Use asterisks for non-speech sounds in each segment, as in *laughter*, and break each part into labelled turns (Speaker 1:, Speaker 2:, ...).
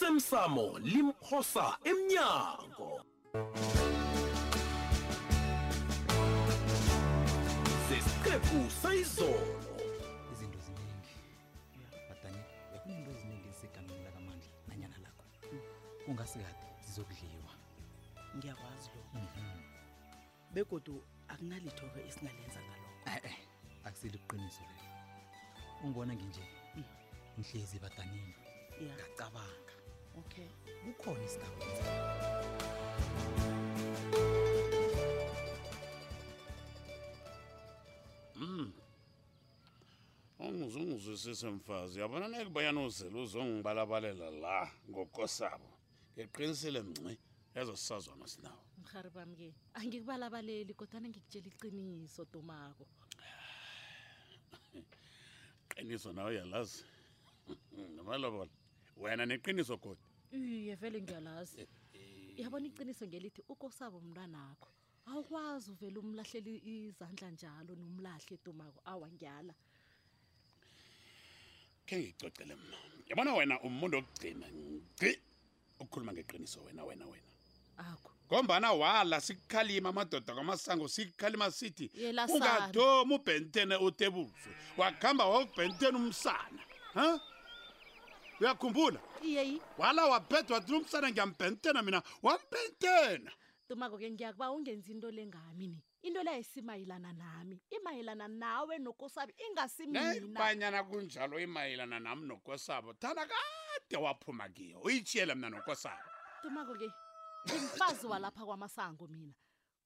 Speaker 1: osemsamo limphosa emnyango sesiqephu sayizolo
Speaker 2: izinto ziningi badani bekuneento eziningi ezisegameni lakamandla nanyana lakho kungasikade zizokudliwa
Speaker 3: ngiyakwazi lokho
Speaker 2: Eh,
Speaker 3: begodu akunalitho-ke esingalenza ngalokho
Speaker 2: e-e akusile iqiniso leyo ungibona nginje ngihlezi badanile
Speaker 3: ya
Speaker 2: ngacabanga
Speaker 3: okay
Speaker 2: kukhona isigaba
Speaker 4: Hmm. ungizungizwisise mfazi yabona neke bayanozela uzongibalabalela la ngokosabo ngiqinisile mnci ezo sisazwana sinawo
Speaker 5: mhari bami-ke angikubalabaleli kodwana ngikutshela iqiniso domako
Speaker 4: qiniso nawe uyalazi *laughs* namalobola wena neqiniso godi
Speaker 5: iye vele ngiyalazi yabona iqiniso ngelithi ukosabo mntwanakho awukwazi uvele umlahleli izandla njalo nomlahle domako awa ngiyala
Speaker 4: khe ngiyicocele mna yabona wena umuntu okugcina ngci ukukhuluma ngeqiniso wena wena wena
Speaker 5: akho
Speaker 4: ngombana wala sikukhalima amadoda kwamasango sikukhalima sithi
Speaker 5: Yelasana.
Speaker 4: ungadomi ubhentene utebuzwe wakuhamba wawubhentene umsana ha uyakhumbula
Speaker 5: iyeyi
Speaker 4: wala wabhedwa wathi umsana ngiyampentena mina wampentena
Speaker 5: domako-ke ngiyakuba ungenzi into le ngami ni into le ayisimayelana nami imayelana nawe nokosabi ingasimina
Speaker 4: nebanyana kunjalo imayelana nami nokosabo thana kade waphuma kiyo uyitshiyele mna nokosabo
Speaker 5: domako-ke ngimfazi walapha kwamasango mina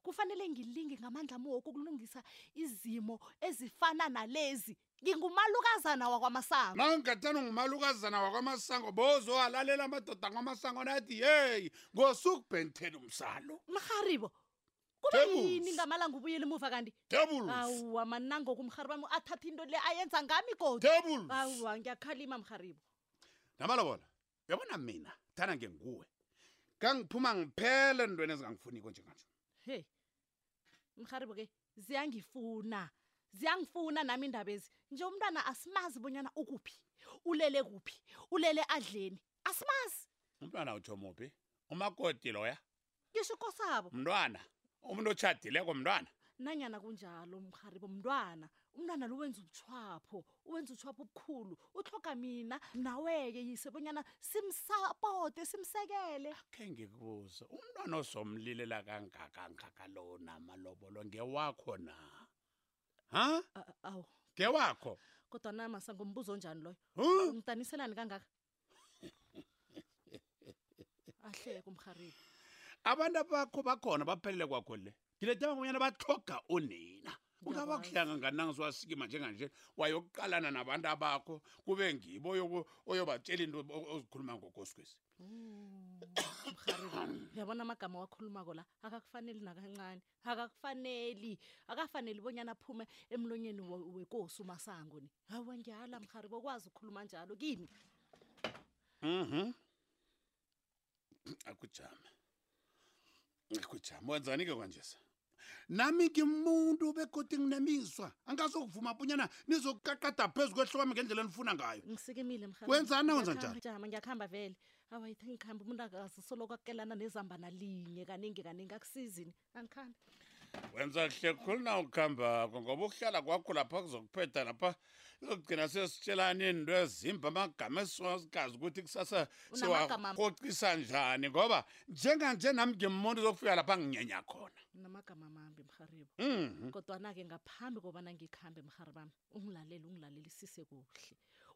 Speaker 5: kufanele ngilinge ngamandla ami woke ukulungisa izimo ezifana nalezi ngingumalukazana wakwamasango
Speaker 4: nawungathana ungumalukazana wakwamasango bozowalalela amadoda kwamasango nathi yeyi ngosukubhentena umsalo
Speaker 5: mrharibo kube
Speaker 4: Thebus.
Speaker 5: yini ngamalanga ubuyela emuva kanti
Speaker 4: tebulus
Speaker 5: awa manangoku mrhari bami athatha into le ayenza ngami godi
Speaker 4: tebulus
Speaker 5: awa ngiyakhalima mrharibo
Speaker 4: namalobola uyabona mina thana ngenguwe kangiphuma ngiphele ntweni ezingangifuniko njenganje
Speaker 5: he mrharibo ke ziyangifuna ziyangifuna nami iindaba ezi nje umntwana asimazi bonyana ukuphi ulele kuphi ulele adleni asimazi
Speaker 4: umntwana utsho muphi umakoti loya
Speaker 5: ngisho ukosabo
Speaker 4: mntwana umuntu otshadileko mntwana
Speaker 5: nanyana kunjalo mharibo mntwana umntwana lo wenza ubuchwapho uwenza ubuchwapho obukhulu uhloga mina naweke yise bonyana simsapote simsekele
Speaker 4: khe ngikubuze umntwana ozomlilela kangakangaka lona malobolo ngewakho na ha
Speaker 5: A- awu
Speaker 4: ngewakho
Speaker 5: kodwa namasa ngombuzo onjani loyo
Speaker 4: Huh?
Speaker 5: ngidaniselani kangaka ahleko mharibo
Speaker 4: abantu bakho bakhona baphelele kwakho le ngilethe abangonyana batloga unina
Speaker 5: Ngiyakwazi.
Speaker 4: ungabakuhlanga nganangiso wasikima njenganje wayokuqalana nabantu abakho kube ngibo oyoku- oyobatshela into o- ozikhuluma ngokosikwesi
Speaker 5: mharibo uyabona amagama wakhulumako la akakufaneli nakancane akakufaneli akafaneli bonyana aphume emlonyeni we- wekosi umasango ni hawa ngiyala mharibo okwazi ukukhuluma njalo kimi
Speaker 4: Mhm. Akujama. Akujama. Wenzani ke kanje? Nami ngimuntu begodi nginemizwa. Angazokuvuma bunyana nizokukaqada phezulu kwehlokami ngendlela nifuna ngayo.
Speaker 5: ngisikimile
Speaker 4: Wenzani na wenza njalo?
Speaker 5: jama ngiyakuhamba vele awayithi ngikhambe umuntu akazisoloko akelana nezamba nalinye kaningi kaningi akusizini angikhambi
Speaker 4: Wenza kuhle khulu na ukuhamba ngoba ukuhlala kwakho lapha kuzokuphetha lapha izogcina sesitshelana into ezimbi amagama esiwazigazi ukuthi kusasa
Speaker 5: Unamagama-
Speaker 4: siwahoqisa njani ngoba njenganje nami ngimuntu zokufika lapha nginyenya khona.
Speaker 5: namagama amambi mharibo
Speaker 4: Mhm.
Speaker 5: kodwana-ke ngaphambi kobana ngikhambe mhari bami ungilalele ungilalelisise kuhle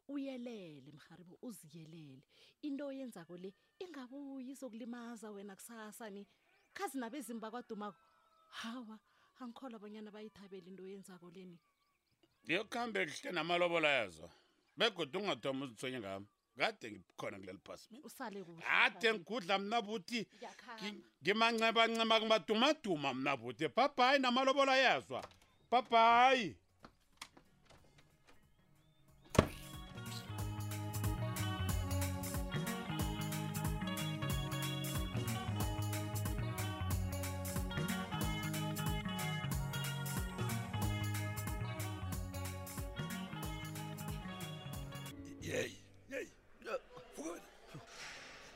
Speaker 5: uyelele mharibo uziyelele into oyenzako le ingabuyi izokulimaza wena kusasa ni khazi nabezimu bakwadumako hawa angikholwa abanyana bayithabele into oyenzako leni
Speaker 4: ndiyokuhambe kuhle namalobola yazo begodwa ungathoma uzithonye ngami kade ngikhona kuleli phasi mina
Speaker 5: usale kuhle
Speaker 4: ade
Speaker 5: mharibo.
Speaker 4: ngigudla mna buti
Speaker 5: Ngiyakhamba.
Speaker 4: ngimancebanceba kumadumaduma mna buti babhayi namalobola yazwa babhayi
Speaker 6: yeyi yeyi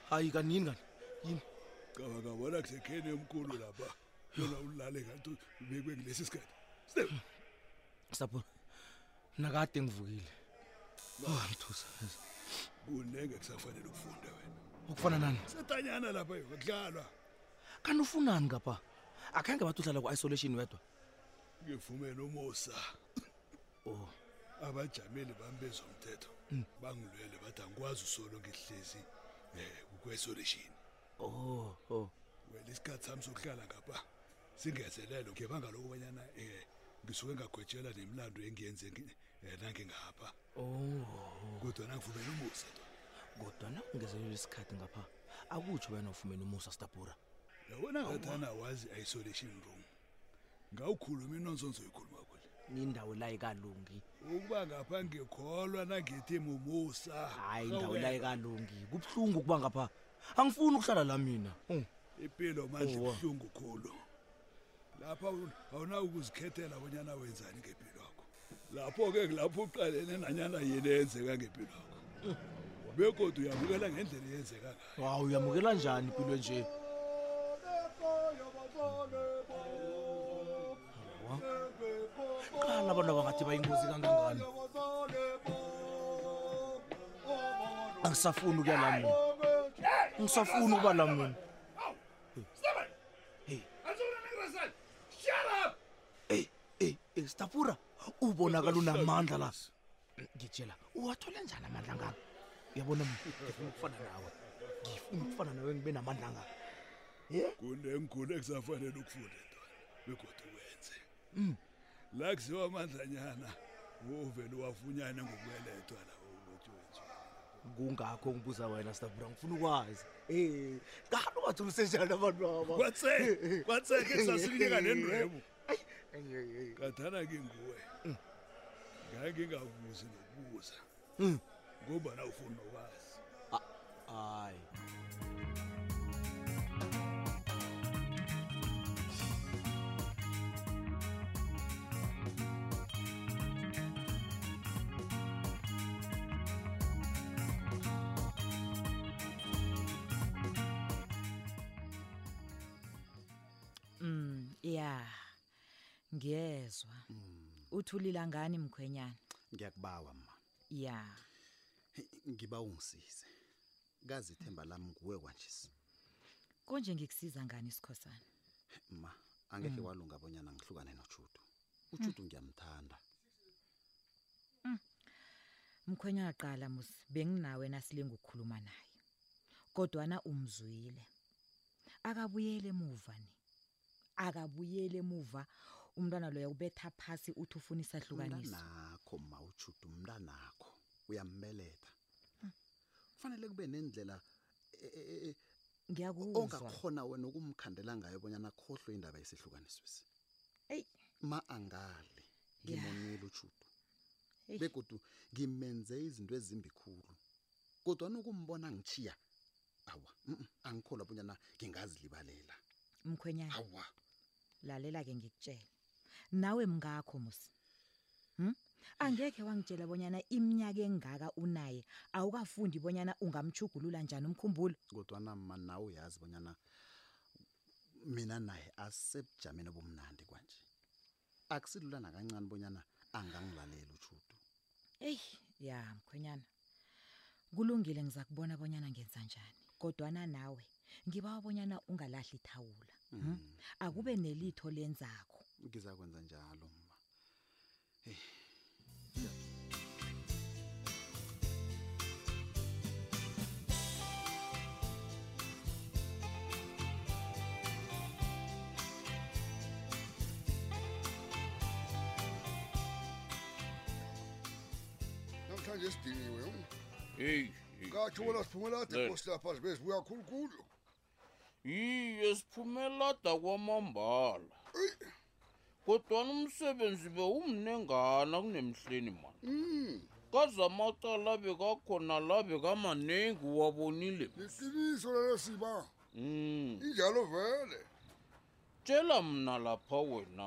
Speaker 6: hayi kanini kani yini
Speaker 7: cabanga bona kusekhene emkhulu lapha yona ulale kanti ubekwe kulesi sikhathi Step.
Speaker 6: sapho nakade ngivukile oh mthusa
Speaker 7: kunenge kusafanele ukufunda wena
Speaker 6: ukufana nani
Speaker 7: setanyana lapha yo kudlalwa
Speaker 6: kanti ufunani ngapha akhange bathi uhlala ku-isolation wedwa
Speaker 7: ngivumele umosa
Speaker 6: oh
Speaker 7: abajameli bami bezomthetho bangilwele bathi angikwazi usolo ngihlezi um kukwesolation
Speaker 6: oh oh
Speaker 7: wena isikhathi sami sokuhlala ngapha singezelelo ngebanga lokubanyana um ngisuke ngagwetshela nemlando engiyenze um nangingapha
Speaker 6: oh
Speaker 7: kodwa nangivumele umusa
Speaker 6: kodwa nakungezelelwa isikhathi ngapha akutsho wena ufumene umusa sitabura
Speaker 7: yabona ngathana wazi isolation room ngawukhuluma inonsonzo yikhuluma kule
Speaker 6: nindawo la ikalungi
Speaker 7: ukuba ngapha ngikholwa nangithi mumusa
Speaker 6: hayi indawo la ikalungi kubuhlungu ukuba ngapha angifuni ukuhlala la mina Oh,
Speaker 7: impilo manje
Speaker 6: Owa.
Speaker 7: buhlungu khulu lapha awun- awunawo ukuzikhethela bonyana wenzani ngempilo yakho lapho-ke kulapho uqalene nanyana yini eyenzeka ngempilo yakho begodwa uyabukela ngendlela eyenzeka ngayo
Speaker 6: hawu uyamukela njani impilo nje qala abantu abangathi bayingozi kangangani angisafuni ukuya la mina ngisafuni ukuba la mina Hey. Hey, hey, hey, stapura Eh, ubonakala unamandla la ngitshela uwathole njani amandla ngako uyabona mina, ngifuna ukufana nawe ngifuna ukufana nawe ngibe namandla ngako
Speaker 7: kunemkhulu ekusafanele ukufunde ntwana begodwa wenze
Speaker 6: Mm.
Speaker 7: la kuziwa amandlanyana uvele uwafunyane ngokubeletwa lawo ulotshotsho
Speaker 6: kungakho ngibuza wena stapura ngifuna ukwazi Eh, kanti ungathi ulisenjani abantu baba *laughs*
Speaker 7: kwatseke kwatseke kusasinika nendwebo
Speaker 6: Ayi, ayi, ayi.
Speaker 7: ngathana ke nguwe ngangingabuzi nokubuza
Speaker 6: Mm.
Speaker 7: ngombana ufuna ukwazi
Speaker 6: hayi
Speaker 8: Mm, ya. Ngiyezwa. Uthulila ngani mkhwenyana?
Speaker 9: ngiyakubawa ma
Speaker 8: Ya.
Speaker 9: ngiba ungisize kazi ithemba lami nguwe kwanjesi
Speaker 8: Konje ngikusiza ngani sikhosana?
Speaker 9: ma angeke walunga abonyana ngihlukane nojudu ujudu ngiyamthanda
Speaker 8: Mkhwenyana qala musi benginawe nasilinga ukukhuluma naye. Kodwa na umzwile. Akabuyele emuva ni. Akabuyele emuva umntwana loya ubetha phasi uthi ufuna isahlukaniswa.
Speaker 9: mntanakho ma ujudu mntanakho uyambeletha
Speaker 8: Hmm.
Speaker 9: kufanele kube nendlela e- e- e-
Speaker 8: Ngiyakuzwa.
Speaker 9: ongakhona wena ukumkhandela ngayo bonyana khohlwe indaba yesihlukaniswesi
Speaker 8: Eyi.
Speaker 9: ma angali
Speaker 8: Ya.
Speaker 9: ngimonile ujudu
Speaker 8: Eyi.
Speaker 9: begodu ngimenze izinto ezimbi khulu kodwa nokumbona ngitshiya awa mm, mm, angikholwa bonyana ngingazilibalela
Speaker 8: Mkhwenyana.
Speaker 9: awa
Speaker 8: lalela ke ngikutshela nawe mngakho musi hm angeke wangitshela bonyana iminyaka engaka unaye awukafundi bonyana ungamchugulula njani umkhumbulo
Speaker 9: kodwana ma nawe uyazi bonyana mina naye asebujameni obumnandi kwanje akusilula nakancane bonyana angangilaleli ujudu
Speaker 8: eyi ya mkhwenyana kulungile ngiza kubona bonyana ngenza njani kodwana nawe ngibawa bonyana ungalahli ithawula hm
Speaker 9: Mm.
Speaker 8: akube nelitho lenzakho
Speaker 9: ngizakwenza njalo ma
Speaker 10: namhlanje sidiniwe yho.
Speaker 11: heyi
Speaker 10: ngatsho bona siphumela ade
Speaker 11: Lele.
Speaker 10: nkosi lapha sibe sibuya khulukhulu
Speaker 11: yiye siphumelada kwamambala kodwana umsebenzi bewumnengana kunemhleni mani kazamacala bekakhona la bekamaningi wabonile
Speaker 10: liqiniso lelo siba
Speaker 11: Mm.
Speaker 10: injalo vele
Speaker 11: tshela mna lapha wena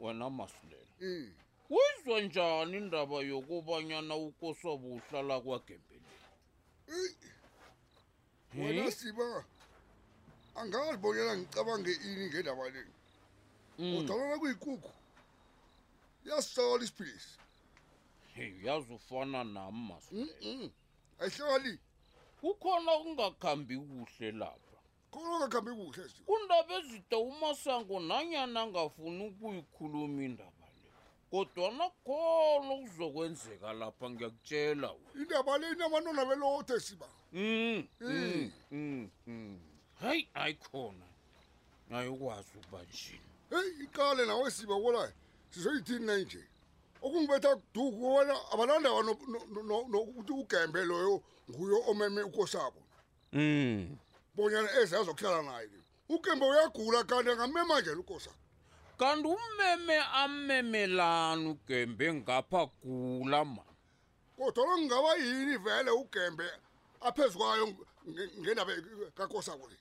Speaker 11: wena masilela
Speaker 10: Mm.
Speaker 11: uyizwa njani indaba yokubanyana ukosabe uhlala kwagembeleni
Speaker 10: Eyi, wena siba angazi bonyana ngicabange ini ngendaba le udalana kuyikukhu yasitala isiphilisi
Speaker 11: heyi yazi ufana nam masilelo
Speaker 10: ayihlali
Speaker 11: kukhona okungakhambi kuhle lapha
Speaker 10: khona okungakhambi kuhle
Speaker 11: kundaba ezide umasango nanyana angafuni ukuyikhuluma indaba le kodwana khona okuzokwenzeka lapha ngiyakutshela wena
Speaker 10: indaba le inabantwana belothe siba
Speaker 11: Mm,
Speaker 10: Mm.
Speaker 11: mm, mm, mm. hayi hayi khona ayikwazi ukuba njini
Speaker 10: heyi iqale nawe siba kolayo sizoyithini na nje okungibetha kuduku kobana abalandaba no- no- no- no- nokuthi ugembe loyo nguyo omeme ukosabo
Speaker 11: Mm.
Speaker 10: bonyana eze azokuhlala naye ke ugembe uyagula kanti angamema nje ukosabo
Speaker 11: kanti umeme amemelani ugembe ngapha gula ma
Speaker 10: kodwana kungaba yini vele ugembe aphezu kwayo nge- ngendaba kakosabo le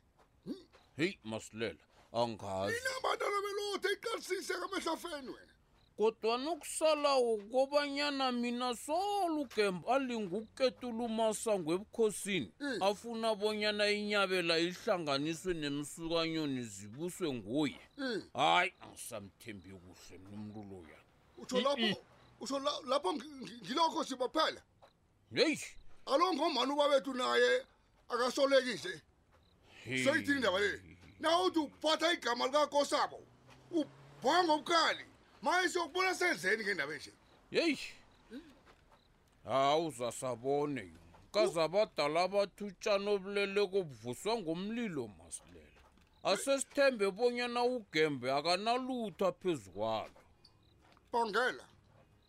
Speaker 11: heyi masilela angazi
Speaker 10: abantwana belothe iqalisise kamehlafeni wena
Speaker 11: kodwana ukusalawo kobanyana mina solo ugembe alinga ukuketula umasango ebukhosini afuna bonyana inyabela ihlanganiswe nemsukanyoni zibuswe nguye
Speaker 10: Hmm.
Speaker 11: hayi angisamthembi kuhle mnumntu loya
Speaker 10: utsho lapho utsho la- lapho ngi- ngi- ngilokho sibaphela
Speaker 11: heyi
Speaker 10: alo ngomani ubabethu naye akasolekise
Speaker 11: Hey.
Speaker 10: seyithini indaba le nawuthi uphatha igama likakosabo ubhonga ubukali maye siyokubona sendleni ngendaba enje
Speaker 11: yeyi hawu zasabone yona kazabadala abathi utshani obuleleko buvuswa ngomlilo masilela asesithembe bonyana ugembe akanalutho aphezu kwalo
Speaker 10: bongela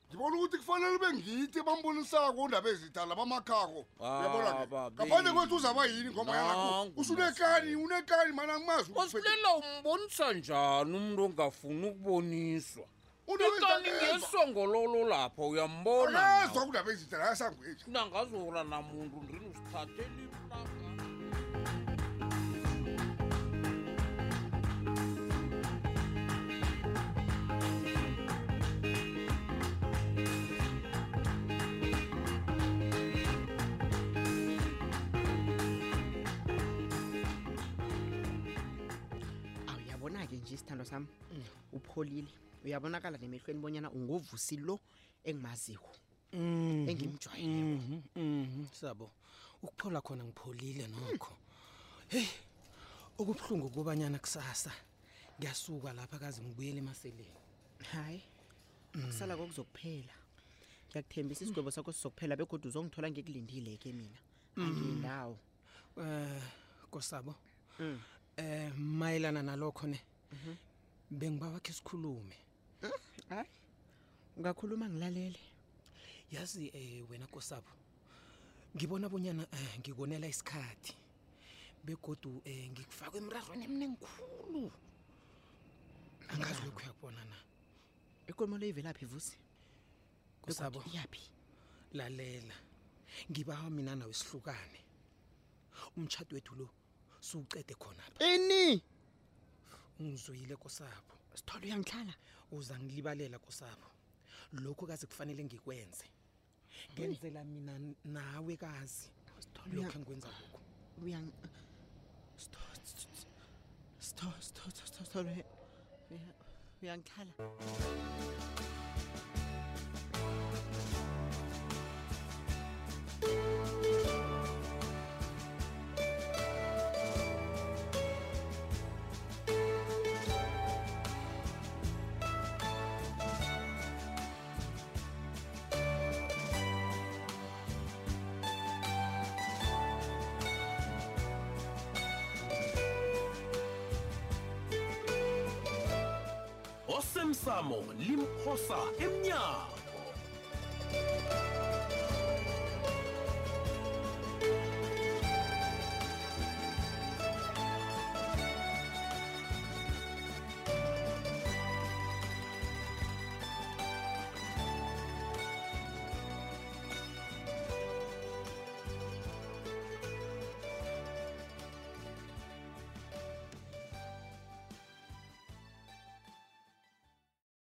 Speaker 10: ngibona ukuthi kufanele bengithi bambonisako undaba ezidala bamakhako
Speaker 11: Ah,
Speaker 10: yabona
Speaker 11: babe.
Speaker 10: ngaphandle kwethu uzaba yini ngoma
Speaker 11: Nangu
Speaker 10: yalakho usunekani unekani mana angimazi
Speaker 11: masilela umbonisa njani umntu ongafuni ukuboniswa
Speaker 10: Unokwenza
Speaker 11: ikani
Speaker 10: ngezwa.
Speaker 11: ngesongololo lapha uyambona
Speaker 10: Akazwa kundaba ezidala yasangweja
Speaker 11: nangazola namuntu ndrini usithatheli mnaka
Speaker 12: awuyabona-ke nje isithando sami
Speaker 2: Mm.
Speaker 12: upholile uyabonakala nemehlweni bonyana ungovusi lo engimaziko
Speaker 6: Mhm,
Speaker 12: engimjwayeleko
Speaker 13: Mhm, sabo ukuphola khona ngipholile nokho heyi okubuhlungu kubanyana kusasa ngiyasuka lapha kaze ngibuyele emaseleni
Speaker 12: hayi kusala kokuzokuphela ngiyakuthembisa isigwebo sakho sizokuphela begodwa uzongithola ngikulindile ke mina angindawo Mm.
Speaker 13: um kosabo um mayelana nalokho ne bengiba wakhe sikhulume
Speaker 12: Mhm. Mm, hayi ungakhuluma ngilalele
Speaker 13: yazi
Speaker 6: eh,
Speaker 13: um wena kosabo ngibona bonyana um ngikonela isikhathi begodu um ngikufakwe emrazweni emnengikhulu angazi lokhu uyakubona na
Speaker 12: ikolomo le ivelaphi vusi
Speaker 13: kusabo
Speaker 12: iyaphi
Speaker 13: lalela ngibawa mina nawe sihlukane umtshato wethu lo siwucede khonapha
Speaker 12: ini
Speaker 13: ungizuyile kosabo
Speaker 12: sithole uyangihlala
Speaker 13: uza ngilibalela kosabo lokhu kazi kufanele ngikwenze ngenzela mina n- nawe kazi lokhu engikwenza lokhu
Speaker 12: uyang sto sto sto sto sto uyangikhala
Speaker 1: osemsamo limphosa emnyango